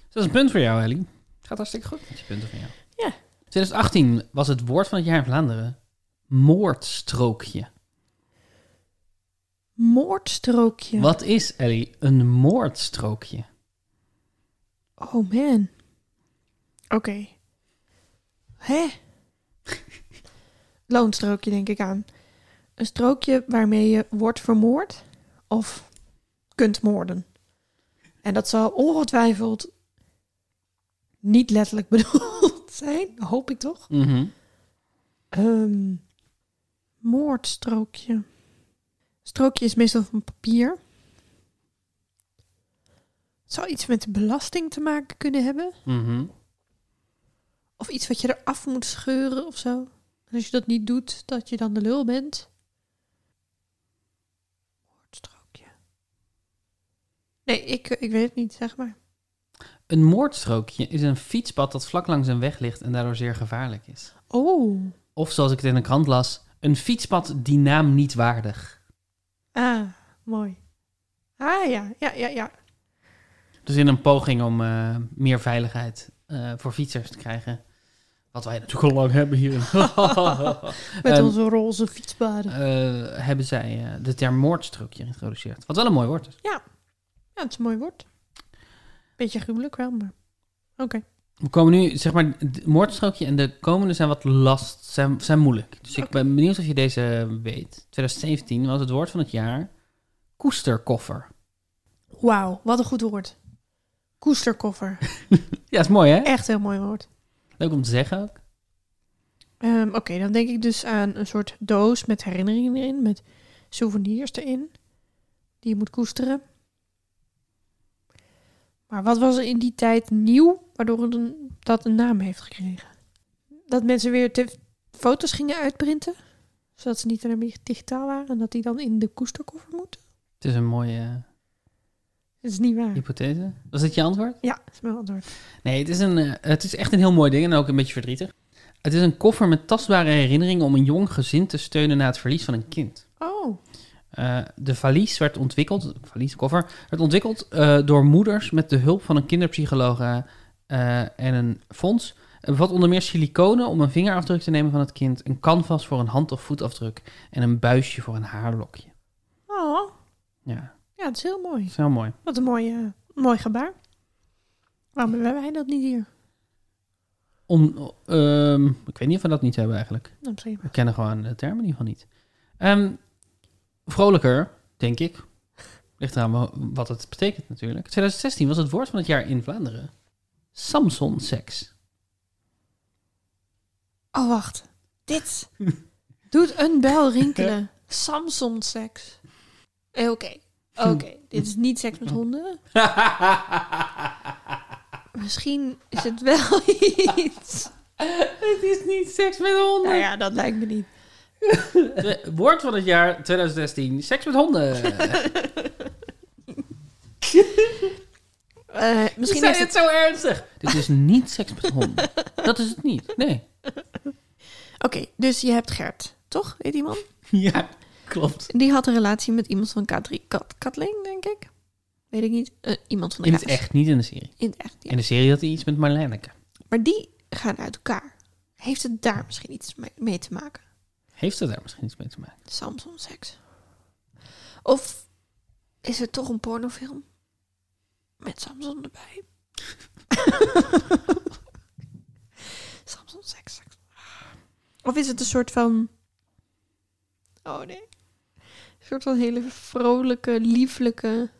S2: dat is een punt voor jou, Ellie. Het gaat hartstikke goed met je punten van jou.
S1: Ja.
S2: 2018 was het woord van het jaar in Vlaanderen moordstrookje.
S1: moordstrookje.
S2: Wat is, Ellie, een moordstrookje?
S1: Oh man. Oké. Hè? Loonstrookje denk ik aan. Een strookje waarmee je wordt vermoord of kunt moorden. En dat zal ongetwijfeld niet letterlijk bedoeld zijn, hoop ik toch?
S2: Mhm.
S1: Ehm, moordstrookje. Strookje is meestal van papier. Zou iets met de belasting te maken kunnen hebben?
S2: Mhm.
S1: Of iets wat je eraf moet scheuren of zo? En als je dat niet doet, dat je dan de lul bent? Moordstrookje. Nee, ik, eh, ik weet het niet, zeg maar.
S2: Een moordstrookje is een fietspad dat vlak langs een weg ligt en daardoor zeer gevaarlijk is.
S1: Oh.
S2: Of zoals ik het in de krant las, een fietspad die naam niet waardig.
S1: Ah, mooi. Ah ja, ja, ja, ja.
S2: Dus in een poging om eh, meer veiligheid eh, voor fietsers te krijgen. Wat wij natuurlijk al lang hebben hier.
S1: Met
S2: Ehm,
S1: onze roze fietspaden.
S2: eh, hebben zij eh, de term moordstrookje geïntroduceerd. Wat wel een mooi woord is.
S1: Ja, het is een mooi woord. Beetje gruwelijk wel, maar... Oké.
S2: We komen nu, zeg maar, het moordstrookje en de komende zijn wat last, zijn, zijn moeilijk. Dus ik ben benieuwd of je deze weet. 2017 was het woord van het jaar koesterkoffer.
S1: Wauw, wat een goed woord. Koesterkoffer.
S2: Ja, is mooi hè?
S1: Echt heel mooi woord.
S2: Leuk om te zeggen ook.
S1: Ehm, Oké, dan denk ik dus aan een soort doos met herinneringen erin, met souvenirs erin, die je moet koesteren. Maar wat was er in die tijd nieuw, waardoor het een, dat een naam heeft gekregen? Dat mensen weer te- foto's gingen uitprinten, zodat ze niet alleen maar digitaal waren en dat die dan in de koesterkoffer moeten?
S2: Het is een mooie eh,
S1: Dat is niet waar.
S2: hypothese. Was dit je antwoord?
S1: Ja, dat is mijn antwoord.
S2: Nee, het is, een, eh, het is echt een heel mooi ding en ook een beetje verdrietig. Het is een koffer met tastbare herinneringen om een jong gezin te steunen na het verlies van een kind.
S1: Oh,
S2: Eh, de valies werd ontwikkeld, valies, koffer, werd ontwikkeld eh, door moeders met de hulp van een kinderpsycholoog eh, eh, en een fonds. Het bevat onder meer siliconen om een vingerafdruk te nemen van het kind, een canvas voor een hand- of voetafdruk en een buisje voor een haarlokje.
S1: oh.
S2: Ja,
S1: ja, het is heel mooi.
S2: dat is heel mooi.
S1: Wat een mooi, eh, mooi gebaar. Waarom hebben wij dat niet hier?
S2: Om, ehm, ik weet niet of we dat niet hebben eigenlijk.
S1: Nou, misschien.
S2: We kennen gewoon de term in ieder geval niet. Ehm, vrolijker, denk ik. Ligt eraan wa- wat het betekent natuurlijk. 2016 was het woord van het jaar in Vlaanderen. Samson seks.
S1: Oh, wacht. Dit. Doet een bel rinkelen. Samsung seks. Eh, Oké.
S2: Hm.
S1: Oké. Dit is niet seks met honden. Misschien is het wel iets.
S2: het is niet seks met honden.
S1: Nou ja, dat lijkt me niet.
S2: De- Woord van het jaar 2016. Seks met honden.
S1: Eh,
S2: Misschien
S1: misschien
S2: zei
S1: is
S2: je
S1: het...
S2: het zo ernstig. Dit is niet seks met honden. Dat is het niet. Nee.
S1: Oké, dus je hebt Gert. Toch? Weet iemand?
S2: Ja, klopt.
S1: Die had een relatie met iemand van K3. Kat, Katling, denk ik. Weet ik niet. Eh, iemand van de
S2: In het
S1: kaas.
S2: echt, niet in de serie.
S1: In het echt, ja.
S2: In de serie had hij iets met Marlijneke.
S1: Maar die gaan uit elkaar. Heeft het daar misschien iets mee- mee te maken?
S2: Heeft dat daar misschien iets mee te maken?
S1: Samsung seks. Of is het toch een pornofilm? Met Samson erbij. Samson seks, seks. Of is het een soort van... Oh nee. Een soort van hele vrolijke, lieflijke...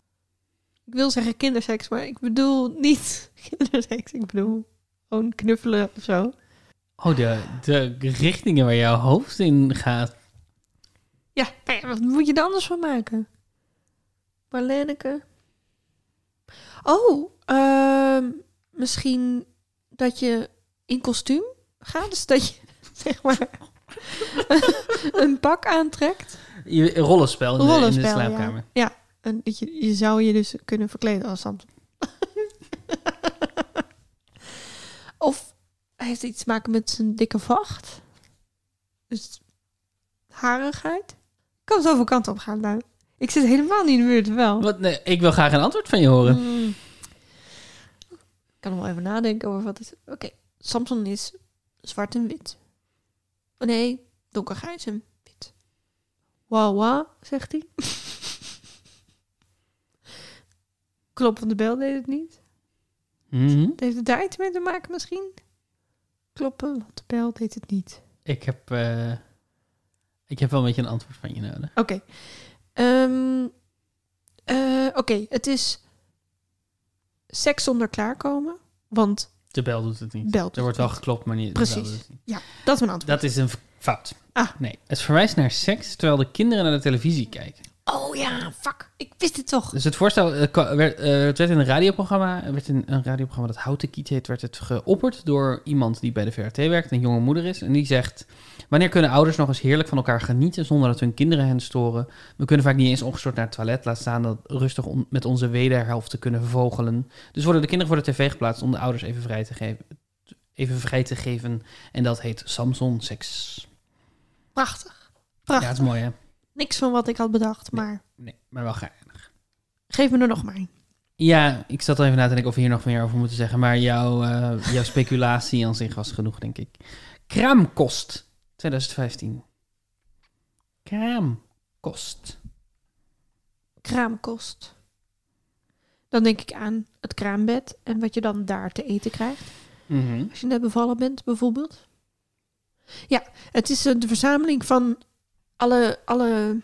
S1: Ik wil zeggen kinderseks, maar ik bedoel niet kinderseks. Ik bedoel gewoon knuffelen of zo.
S2: Oh, de, de richtingen waar jouw hoofd in gaat.
S1: Ja, nou ja, wat moet je er anders van maken? Marleneke. Oh, ehm, misschien dat je in kostuum gaat. Dus dat je, zeg maar, een pak aantrekt.
S2: Je, een rollenspel in, de, in de
S1: Rollenspel, ja.
S2: slaapkamer.
S1: En dat je, je zou je dus kunnen verkleden als Samson. of heeft het iets te maken met zijn dikke vacht? Dus harigheid? Kan zoveel kanten op gaan nou. Ik zit helemaal niet in de buurt, wel.
S2: Wat, nee, ik wil graag een antwoord van je horen.
S1: Mm. Ik kan nog wel even nadenken over wat het... Oké, Samson is zwart en wit. Oh nee, donkergrijs en wit. Wawa, zegt hij. Klop van de bel deed het niet.
S2: Mhm.
S1: Heeft het daar iets mee te maken misschien? Kloppen van de bel deed het niet.
S2: Ik heb, eh, ik heb wel een beetje een antwoord van je nodig.
S1: Oké. Ehm, eh, Oké, het is seks zonder klaarkomen. Want
S2: De bel doet het niet.
S1: bel doet
S2: Er wordt wel
S1: niet.
S2: geklopt, maar niet. de
S1: Precies.
S2: bel doet het niet.
S1: Dat is mijn antwoord.
S2: Dat is een v- fout.
S1: Ah.
S2: Nee, het verwijst naar seks terwijl de kinderen naar de televisie kijken.
S1: Oh ja, fuck. Ik wist het toch.
S2: Dus het voorstel eh, kwa- werd, eh, het werd in een radioprogramma, er werd in een radioprogramma dat Houten Kiet heet, werd het geopperd door iemand die bij de VRT werkt, een jonge moeder is. En die zegt, wanneer kunnen ouders nog eens heerlijk van elkaar genieten zonder dat hun kinderen hen storen? We kunnen vaak niet eens opgestort naar het toilet, laat staan dat rustig om met onze wederhelft te kunnen vogelen. Dus worden de kinderen voor de tv geplaatst om de ouders even vrij te geven. Even vrij te geven. En dat heet Samson seks.
S1: Prachtig.
S2: Ja,
S1: Prachtig.
S2: het is mooi hè?
S1: Niks van wat ik had bedacht,
S2: Nee.
S1: maar
S2: Nee, maar wel gaar.
S1: geef me er nog maar een.
S2: Ja, ik zat al even na te denken of we hier nog meer over moeten zeggen. Maar jouw, eh, jouw speculatie aan zich was genoeg, denk ik. Kraamkost 2015. Kraamkost.
S1: kraamkost. Dan denk ik aan het kraambed en wat je dan daar te eten krijgt.
S2: Mhm.
S1: Als je net bevallen bent, bijvoorbeeld. Ja, het is eh, de verzameling van alle, alle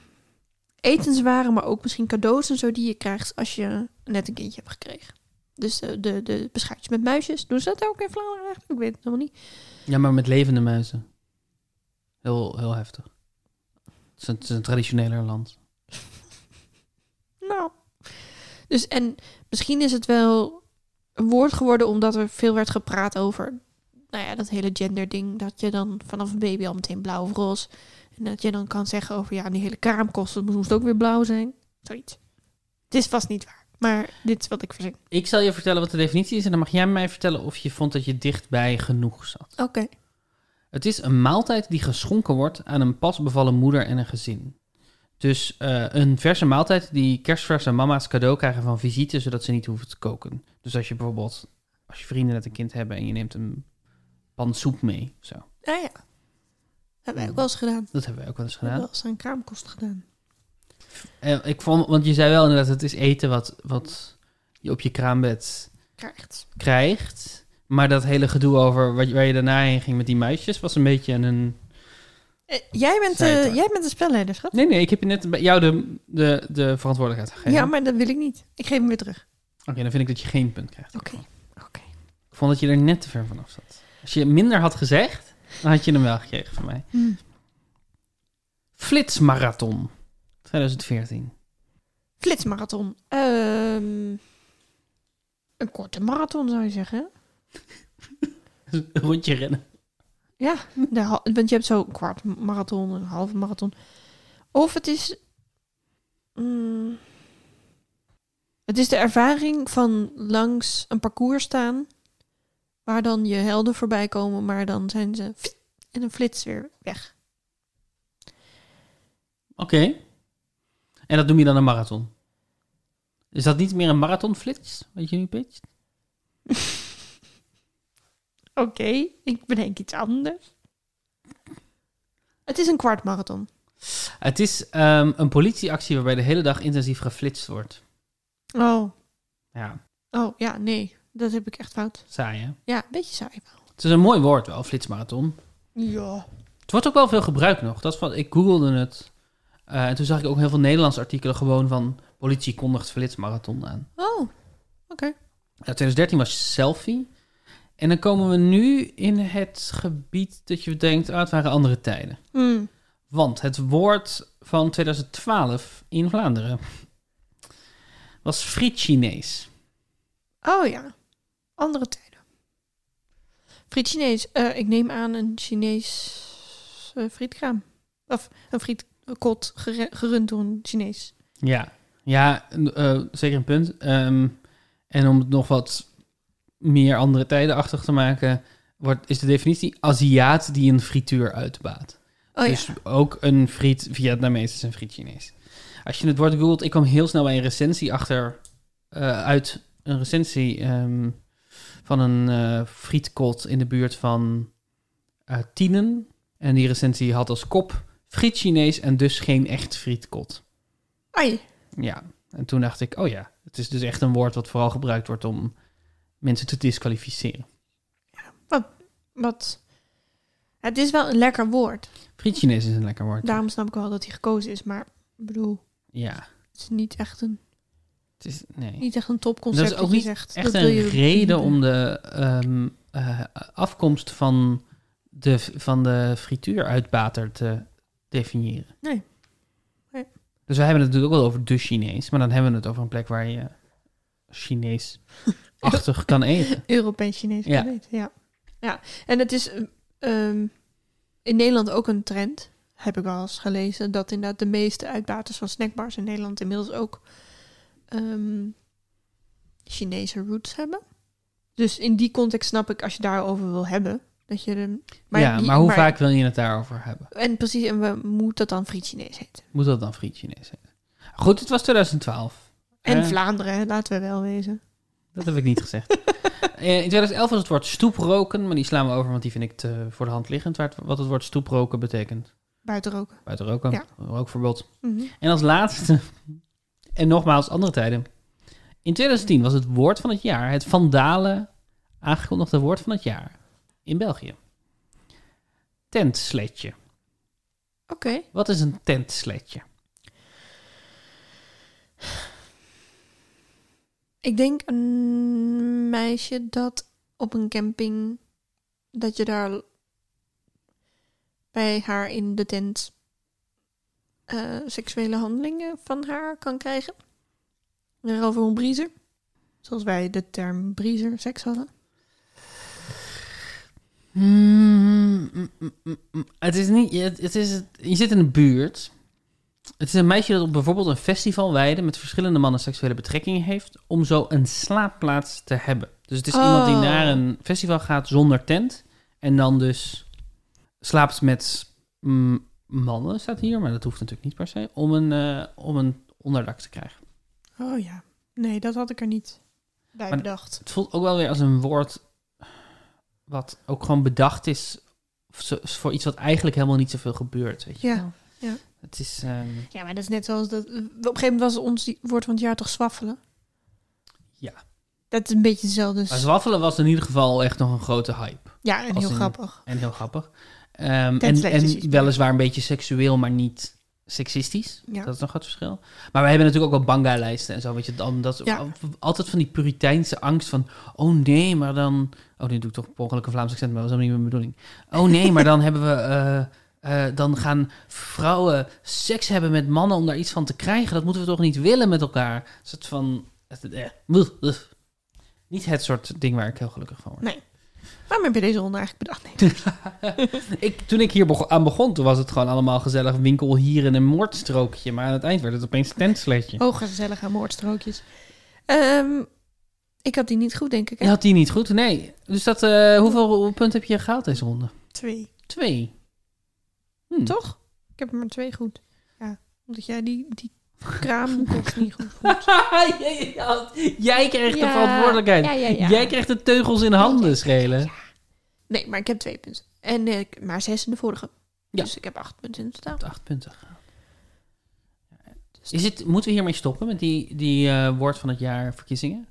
S1: etenswaren, maar ook misschien cadeaus en zo die je krijgt als je net een kindje hebt gekregen. Dus eh, de, de beschuitjes met muisjes. Doen ze dat ook in Vlaanderen eigenlijk? Ik weet het helemaal niet.
S2: Ja, maar met levende muizen. Heel, heel heftig. Het is een, het is een traditioneler land.
S1: Nou. Dus en misschien is het wel een woord geworden omdat er veel werd gepraat over. Nou ja, dat hele genderding. Dat je dan vanaf een baby al meteen blauw of roze. En dat je dan kan zeggen over ja, die hele kraamkosten moest ook weer blauw zijn. Zoiets. Het is vast niet waar. Maar dit is wat ik verzin.
S2: Ik zal je vertellen wat de definitie is. En dan mag jij mij vertellen of je vond dat je dichtbij genoeg zat.
S1: Oké.
S2: Het is een maaltijd die geschonken wordt aan een pas bevallen moeder en een gezin. Dus eh, een verse maaltijd die kerstverse mama's cadeau krijgen van visite, zodat ze niet hoeven te koken. Dus als je bijvoorbeeld, als je vrienden net een kind hebben en je neemt een pan soep mee, zo.
S1: Nou ja. Hebben wij ook wel eens gedaan.
S2: Dat hebben wij ook wel eens
S1: We hebben
S2: gedaan.
S1: wel eens aan kraamkosten gedaan.
S2: Eh, ik vond, want je zei wel inderdaad, het is eten wat, wat je op je kraambed
S1: Krijgt.
S2: krijgt. Maar dat hele gedoe over wat, je- waar je daarna heen ging met die muisjes was een beetje een
S1: Eh, jij, bent,
S2: Zij
S1: eh
S2: toch?
S1: jij bent de spelleider, schat.
S2: Nee, nee, ik heb je net bij jou de, de, de verantwoordelijkheid gegeven.
S1: Ja, maar dat wil ik niet. Ik geef hem weer terug.
S2: Oké, dan vind ik dat je geen punt krijgt.
S1: Oké. Oké.
S2: Ik vond dat je er net te ver vanaf zat. Als je minder had gezegd, dan had je hem wel gekregen van mij.
S1: Hm.
S2: Flitsmarathon 2014.
S1: Flitsmarathon. Ehm, een korte marathon zou je zeggen.
S2: Een Rondje rennen.
S1: Ja, de hal- want je hebt zo'n kwart marathon, een halve marathon. Of het is. mm, het is de ervaring van langs een parcours staan. Waar dan je helden voorbij komen, maar dan zijn ze fiet, in een flits weer weg.
S2: Oké. En dat noem je dan een marathon. Is dat niet meer een marathonflits? Weet je nu, Pitch?
S1: Oké, ik bedenk iets anders. Het is een kwart marathon.
S2: Het is ehm, een politieactie waarbij de hele dag intensief geflitst wordt.
S1: Oh,
S2: Ja,
S1: oh ja, nee. Dat heb ik echt fout.
S2: saai hè?
S1: Ja, een beetje saai.
S2: Het is een mooi woord wel, flitsmarathon.
S1: Ja.
S2: Het wordt ook wel veel gebruikt nog. Dat is van, ik googelde het. eh, en toen zag ik ook heel veel Nederlandse artikelen gewoon van... politie kondigt flitsmarathon aan.
S1: Oh, oké.
S2: Ja, 2013 was selfie. En dan komen we nu in het gebied dat je denkt... ah, het waren andere tijden.
S1: Hmm.
S2: Want het woord van 2012 in Vlaanderen... was friet Chinees.
S1: Oh ja, andere tijden. Friet Chinees. Eh, ik neem aan een Chinees eh, frietkraam. Of een frietkot gere- gerund door een Chinees.
S2: Ja, ja n- eh, zeker een punt. Ehm, en om het nog wat meer andere tijden achtig te maken, wordt, is de definitie Aziat die een frituur uitbaat.
S1: Oh
S2: dus
S1: ja.
S2: ook een friet Vietnamees is een friet Chinees. Als je het woord googelt, ik kwam heel snel bij een recensie achter, eh, uit een recensie ehm, van een eh, frietkot in de buurt van eh, Tienen. En die recensie had als kop friet Chinees en dus geen echt frietkot.
S1: Ai.
S2: Ja, en toen dacht ik, oh ja, het Het is dus echt een woord wat vooral gebruikt wordt om mensen te disqualificeren.
S1: Wat... Het is wel een lekker woord.
S2: Frietchinees is een lekker woord.
S1: Daarom snap ik wel dat hij gekozen is. Maar ik bedoel,
S2: Ja,
S1: het is niet echt een,
S2: het is, nee.
S1: niet echt een topconcept.
S2: Dat is ook
S1: je
S2: niet
S1: zegt,
S2: Echt
S1: dat wil
S2: een
S1: je
S2: reden
S1: verbieden.
S2: om de ehm, eh, afkomst van de, van de frituuruitbater te definiëren.
S1: Nee. Nee.
S2: Dus wij hebben het natuurlijk ook wel over de Chinees, maar dan hebben we het over een plek waar je Chinees-achtig kan eten.
S1: Europees Chinees
S2: Ja.
S1: ja. ja. Ja, en het is ehm, ehm, in Nederland ook een trend, heb ik wel eens gelezen, dat inderdaad de meeste uitbaters van snackbars in Nederland inmiddels ook ehm, Chinese roots hebben. Dus in die context snap ik, als je daarover wil hebben, dat je de,
S2: ja,
S1: die-
S2: maar hoe vaak wil je het daarover hebben?
S1: En precies, en we moet dat dan friet Chinees heten.
S2: Moet dat dan friet Chinees heten? Goed, het was 2012.
S1: En
S2: Eh,
S1: Vlaanderen, hè, laten we wel wezen.
S2: Dat heb ik niet gezegd. Eh, In 2011 was het woord stoeproken, maar die slaan we over, want die vind ik te voor de hand liggend. waar het- Wat het woord stoeproken betekent.
S1: Buiten roken.
S2: Buiten roken,
S1: Ja.
S2: rookverbod.
S1: Mhm.
S2: En als laatste, en nogmaals andere tijden. In 2010 was het woord van het jaar, het vandalen aangekondigde woord van het jaar in België. Tentsledje.
S1: Oké.
S2: Wat is een tentsledje?
S1: Ik denk een meisje dat op een camping. dat je daar bij haar in de tent. eh, seksuele handelingen van haar kan krijgen. En Daarover een briezer. Zoals wij de term briezer seks hadden.
S2: Hmm, mm, mm, mm, mm. het is niet. Het, het is, je zit in een buurt. Het is een meisje dat op bijvoorbeeld een festivalweide met verschillende mannen seksuele betrekkingen heeft. om zo een slaapplaats te hebben. Dus het is iemand die
S1: Oh.
S2: naar een festival gaat zonder tent. en dan dus slaapt met mm, mannen, staat hier, maar dat hoeft natuurlijk niet per se. om een, eh, om een onderdak te krijgen.
S1: Oh ja. Nee, dat had ik er niet bij
S2: Maar-
S1: bedacht.
S2: Het voelt ook wel weer als een woord wat ook gewoon bedacht is zo- voor iets wat eigenlijk helemaal niet zoveel gebeurt. Weet je?
S1: Ja, ja.
S2: Het is, ehm,
S1: Ja, maar dat is net zoals dat. Op een gegeven moment was ons die- woord van het jaar toch zwaffelen?
S2: Ja.
S1: Dat is een beetje hetzelfde.
S2: maar zwaffelen was in ieder geval echt nog een grote hype
S1: Ja, en
S2: als
S1: heel
S2: in-
S1: grappig.
S2: en heel grappig. Ehm, en,
S1: Tentletjes is
S2: en
S1: het.
S2: weliswaar een beetje seksueel, maar niet seksistisch.
S1: Ja.
S2: Dat is nog het verschil. Maar we hebben natuurlijk ook wel banga-lijsten en zo. Weet je, dan, dat is
S1: Ja.
S2: al- altijd van die puriteinse angst van... Oh nee, maar dan... Oh, nu doe ik toch per ongeluk een Vlaams accent, maar dat was helemaal niet mijn bedoeling. Oh nee, maar dan hebben we... eh, eh, dan gaan vrouwen seks hebben met mannen om daar iets van te krijgen. Dat moeten we toch niet willen met elkaar? Een soort van... eh, wuh, wuh. Niet het soort ding waar ik heel gelukkig van word.
S1: Waarom heb je deze ronde eigenlijk bedacht? Nee.
S2: Ik, toen ik hier bego- aan begon, toen was het gewoon allemaal gezellig winkel hier in een moordstrookje. Maar aan het eind werd het opeens tentsledje.
S1: Hooggezellige moordstrookjes. Ehm, ik had die niet goed, denk ik. Hè?
S2: Je had die niet goed, nee. Dus dat, eh, hoeveel punten heb je gehaald deze ronde?
S1: Twee.
S2: Twee. Hm.
S1: Toch? Ik heb er maar twee goed. Ja, omdat jij die, die kraamkost niet goed vond.
S2: Jij had- Jij krijgt de verantwoordelijkheid.
S1: Ja, ja, ja.
S2: Jij krijgt de teugels in handen schelen.
S1: Nee, maar ik heb twee punten. En eh, ik- maar zes in de vorige.
S2: Ja.
S1: Dus ik heb acht punten in totaal.
S2: Acht punten gehaald.
S1: dus
S2: Is het, moeten we hiermee stoppen met die, die eh, woord van het jaar verkiezingen?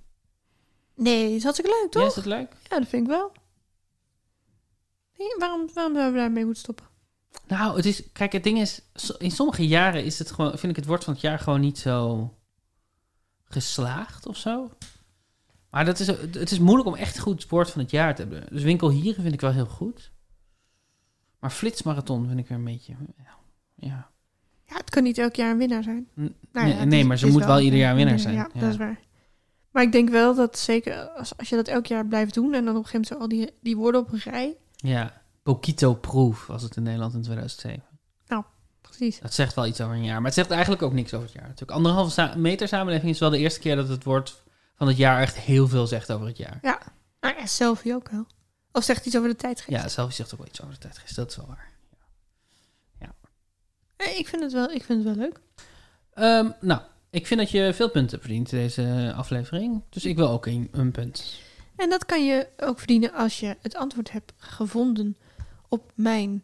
S1: Nee, dat is hartstikke leuk, toch?
S2: Ja, is dat leuk?
S1: Ja, dat vind ik wel. Nee, waarom, waarom zouden we daarmee moeten stoppen?
S2: Nou, het is, kijk, het ding is, so- in sommige jaren is het gewoon, vind ik het woord van het jaar gewoon niet zo geslaagd of zo. Maar dat is, het is moeilijk om echt goed het woord van het jaar te hebben. Dus winkel hier vind ik wel heel goed. Maar flitsmarathon vind ik weer een beetje. Ja. ja.
S1: Ja, het kan niet elk jaar een winnaar zijn.
S2: N-
S1: Nou
S2: nee,
S1: ja, het
S2: nee,
S1: is-
S2: maar ze
S1: is
S2: moet wel ieder jaar
S1: een
S2: winnaar zijn.
S1: Ja, dat is waar. Maar ik denk wel dat zeker als, als je dat elk jaar blijft doen en dan op een gegeven moment zo al die, die woorden op een rij.
S2: ja. Pokito Proof was het in Nederland in 2007.
S1: Precies.
S2: Dat zegt wel iets over een jaar, maar het zegt eigenlijk ook niks over het jaar. Natuurlijk, anderhalve sa- meter samenleving is wel de eerste keer dat het woord van het jaar echt heel veel zegt over het jaar.
S1: Nou ja, selfie ook wel. Of zegt iets over de tijdgeest.
S2: Ja, zelfs zegt ook wel iets over de tijdgeest. Dat is wel waar.
S1: Nee, Eh, ik, vind het wel, ik vind het wel leuk.
S2: Ehm, nou, ik vind dat je veel punten verdient in deze aflevering. Dus ik wil ook een, een punt.
S1: En dat kan je ook verdienen als je het antwoord hebt gevonden op mijn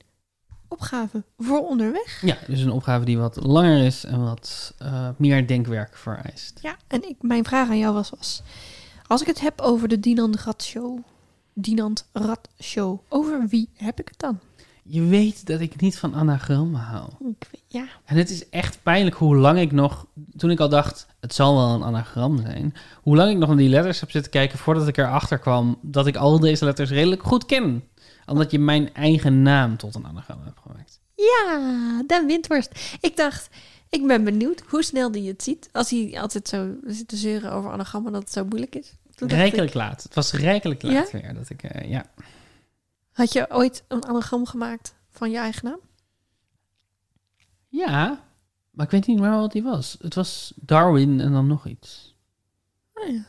S1: opgave voor onderweg.
S2: Ja, dus een opgave die wat langer is en wat eh, meer denkwerk vereist.
S1: Ja, en ik, mijn vraag aan jou was, was... Als ik het heb over de Dinant Rat Show... Dinant Rat Show. Over wie heb ik het dan?
S2: Je weet dat ik niet van anagrammen hou.
S1: Ik weet- ja,
S2: En het is echt pijnlijk hoe lang ik nog, toen ik al dacht, het zal wel een anagram zijn, hoe lang ik nog naar die letters heb zitten kijken voordat ik erachter kwam dat ik al deze letters redelijk goed ken. Omdat je mijn eigen naam tot een anagram hebt gemaakt.
S1: Ja, Dan Windhorst. Ik dacht, ik ben benieuwd hoe snel die het ziet. Als hij altijd zo zit te zeuren over anagrammen dat het zo moeilijk is. Toen dacht
S2: Rijkelijk
S1: ik,
S2: laat. Het was rijkelijk
S1: Ja?
S2: laat weer dat ik, eh, ja.
S1: had je ooit een anagram gemaakt van je eigen naam?
S2: Ja, maar ik weet niet meer wat die was. Het was Darwin en dan nog iets.
S1: Oh ja.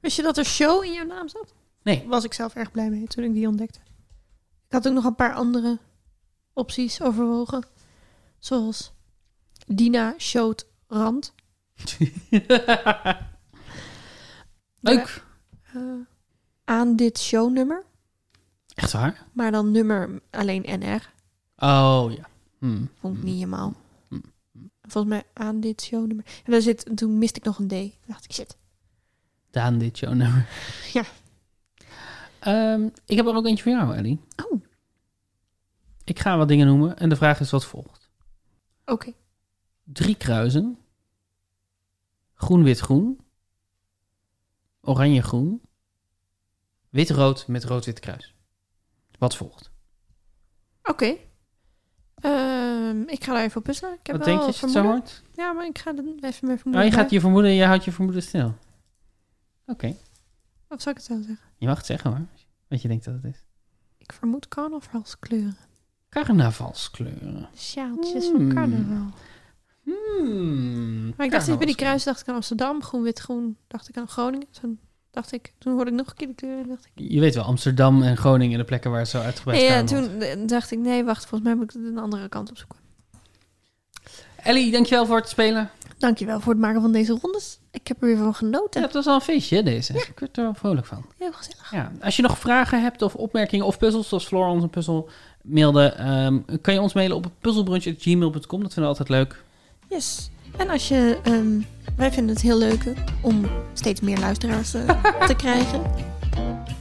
S1: Wist je dat er show in jouw naam zat?
S2: Nee.
S1: Was ik zelf erg blij mee toen ik die ontdekte. Ik had ook nog een paar andere opties overwogen. Zoals Dina Showt Rand.
S2: Leuk.
S1: Eh, aan dit shownummer.
S2: Echt waar?
S1: Maar dan nummer alleen NR.
S2: Oh ja. Hm.
S1: Vond ik niet helemaal.
S2: Mm.
S1: Volgens mij aan dit shownummer. En daar zit, en toen miste ik nog een D. Toen dacht ik, shit.
S2: Daan dit jouw nummer.
S1: Ja.
S2: Ehm, ik heb er ook eentje voor jou, Ellie.
S1: Oh.
S2: Ik ga wat dingen noemen en de vraag is wat volgt.
S1: Oké.
S2: Drie kruisen. Groen-wit-groen. Oranje-groen. Wit-rood met rood-wit kruis. Wat volgt?
S1: Oké. Ehm, ik ga daar even op puzzelen. Ik heb
S2: wat
S1: wel
S2: denk je als je het zo
S1: vermoeden.
S2: hoort?
S1: Ja, maar ik ga er even mijn vermoeden
S2: Nou, je gaat
S1: bij-
S2: je vermoeden, je houdt je vermoeden stil. Oké,
S1: Of zou ik het zo zeggen?
S2: je mag het zeggen hoor. Wat je denkt dat het is.
S1: Ik vermoed carnavalskleuren.
S2: Carnavalskleuren.
S1: De Sjaaltjes
S2: Mm.
S1: van carnaval.
S2: Hmm,
S1: Maar ik dacht eens bij die
S2: carnavalskleuren.
S1: kruis dacht ik aan Amsterdam. Groen, wit, groen. Dacht ik aan Groningen. Toen dacht ik, toen hoorde ik nog een keer de kleuren. en Dacht ik,
S2: Je weet wel, Amsterdam en Groningen, de plekken waar het zo uitgebreid
S1: ja,
S2: staan wordt.
S1: toen eh, dacht ik, nee, wacht. Volgens mij moet ik het een andere kant opzoeken.
S2: Ellie, dankjewel voor het spelen.
S1: Dankjewel voor het maken van deze rondes. Ik heb er weer van
S2: Ja,
S1: genoten.
S2: het was al een feestje, hè, deze. Ik werd er wel vrolijk van.
S1: Heel gezellig.
S2: Ja. Als je nog vragen hebt of opmerkingen of puzzels, zoals Floor ons een puzzel mailde, ehm, kan je ons mailen op puzzelbrunch.gmail.com. Dat vinden we altijd leuk.
S1: Yes. En als je... ehm, wij vinden het heel leuk om steeds meer luisteraars eh, te krijgen.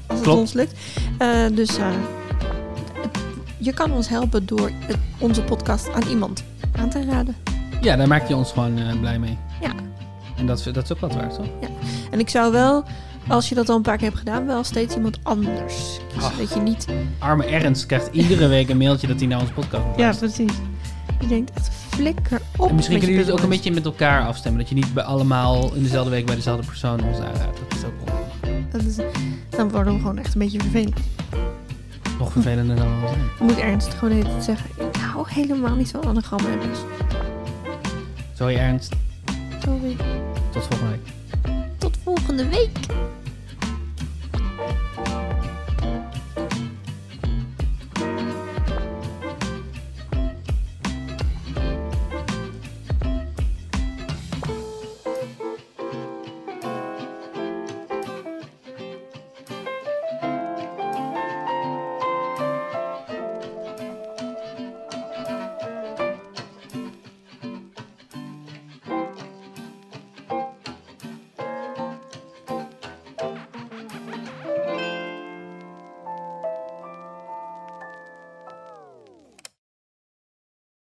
S1: Als het
S2: Klopt.
S1: ons lukt. Eh, dus eh, het- je kan ons helpen door het- onze podcast aan iemand aan te raden.
S2: Ja, daar maak je ons gewoon eh, blij mee.
S1: Ja.
S2: En dat, is- dat is ook wat waard, toch?
S1: En ik zou wel, als je dat al een paar keer hebt gedaan, wel steeds iemand anders kiezen.
S2: Ach.
S1: Dat je niet...
S2: Arme Ernst krijgt iedere week een mailtje dat hij naar onze podcast moet luisteren.
S1: precies. Je denkt echt flikker op
S2: En misschien
S1: met je
S2: kunnen jullie het ook een
S1: puzzels.
S2: beetje met elkaar afstemmen. Dat je niet bij allemaal in dezelfde week bij dezelfde persoon ons aanraadt. Dat is ook wel
S1: Dat is, dan worden we gewoon echt een beetje vervelend.
S2: nog vervelender dan we al zijn.
S1: Ik moet Ernst gewoon de hele tijd zeggen. Ik hou helemaal niet van anagrammen en dus.
S2: Sorry Ernst,
S1: Sorry.
S2: tot volgende week.
S1: Tot volgende week.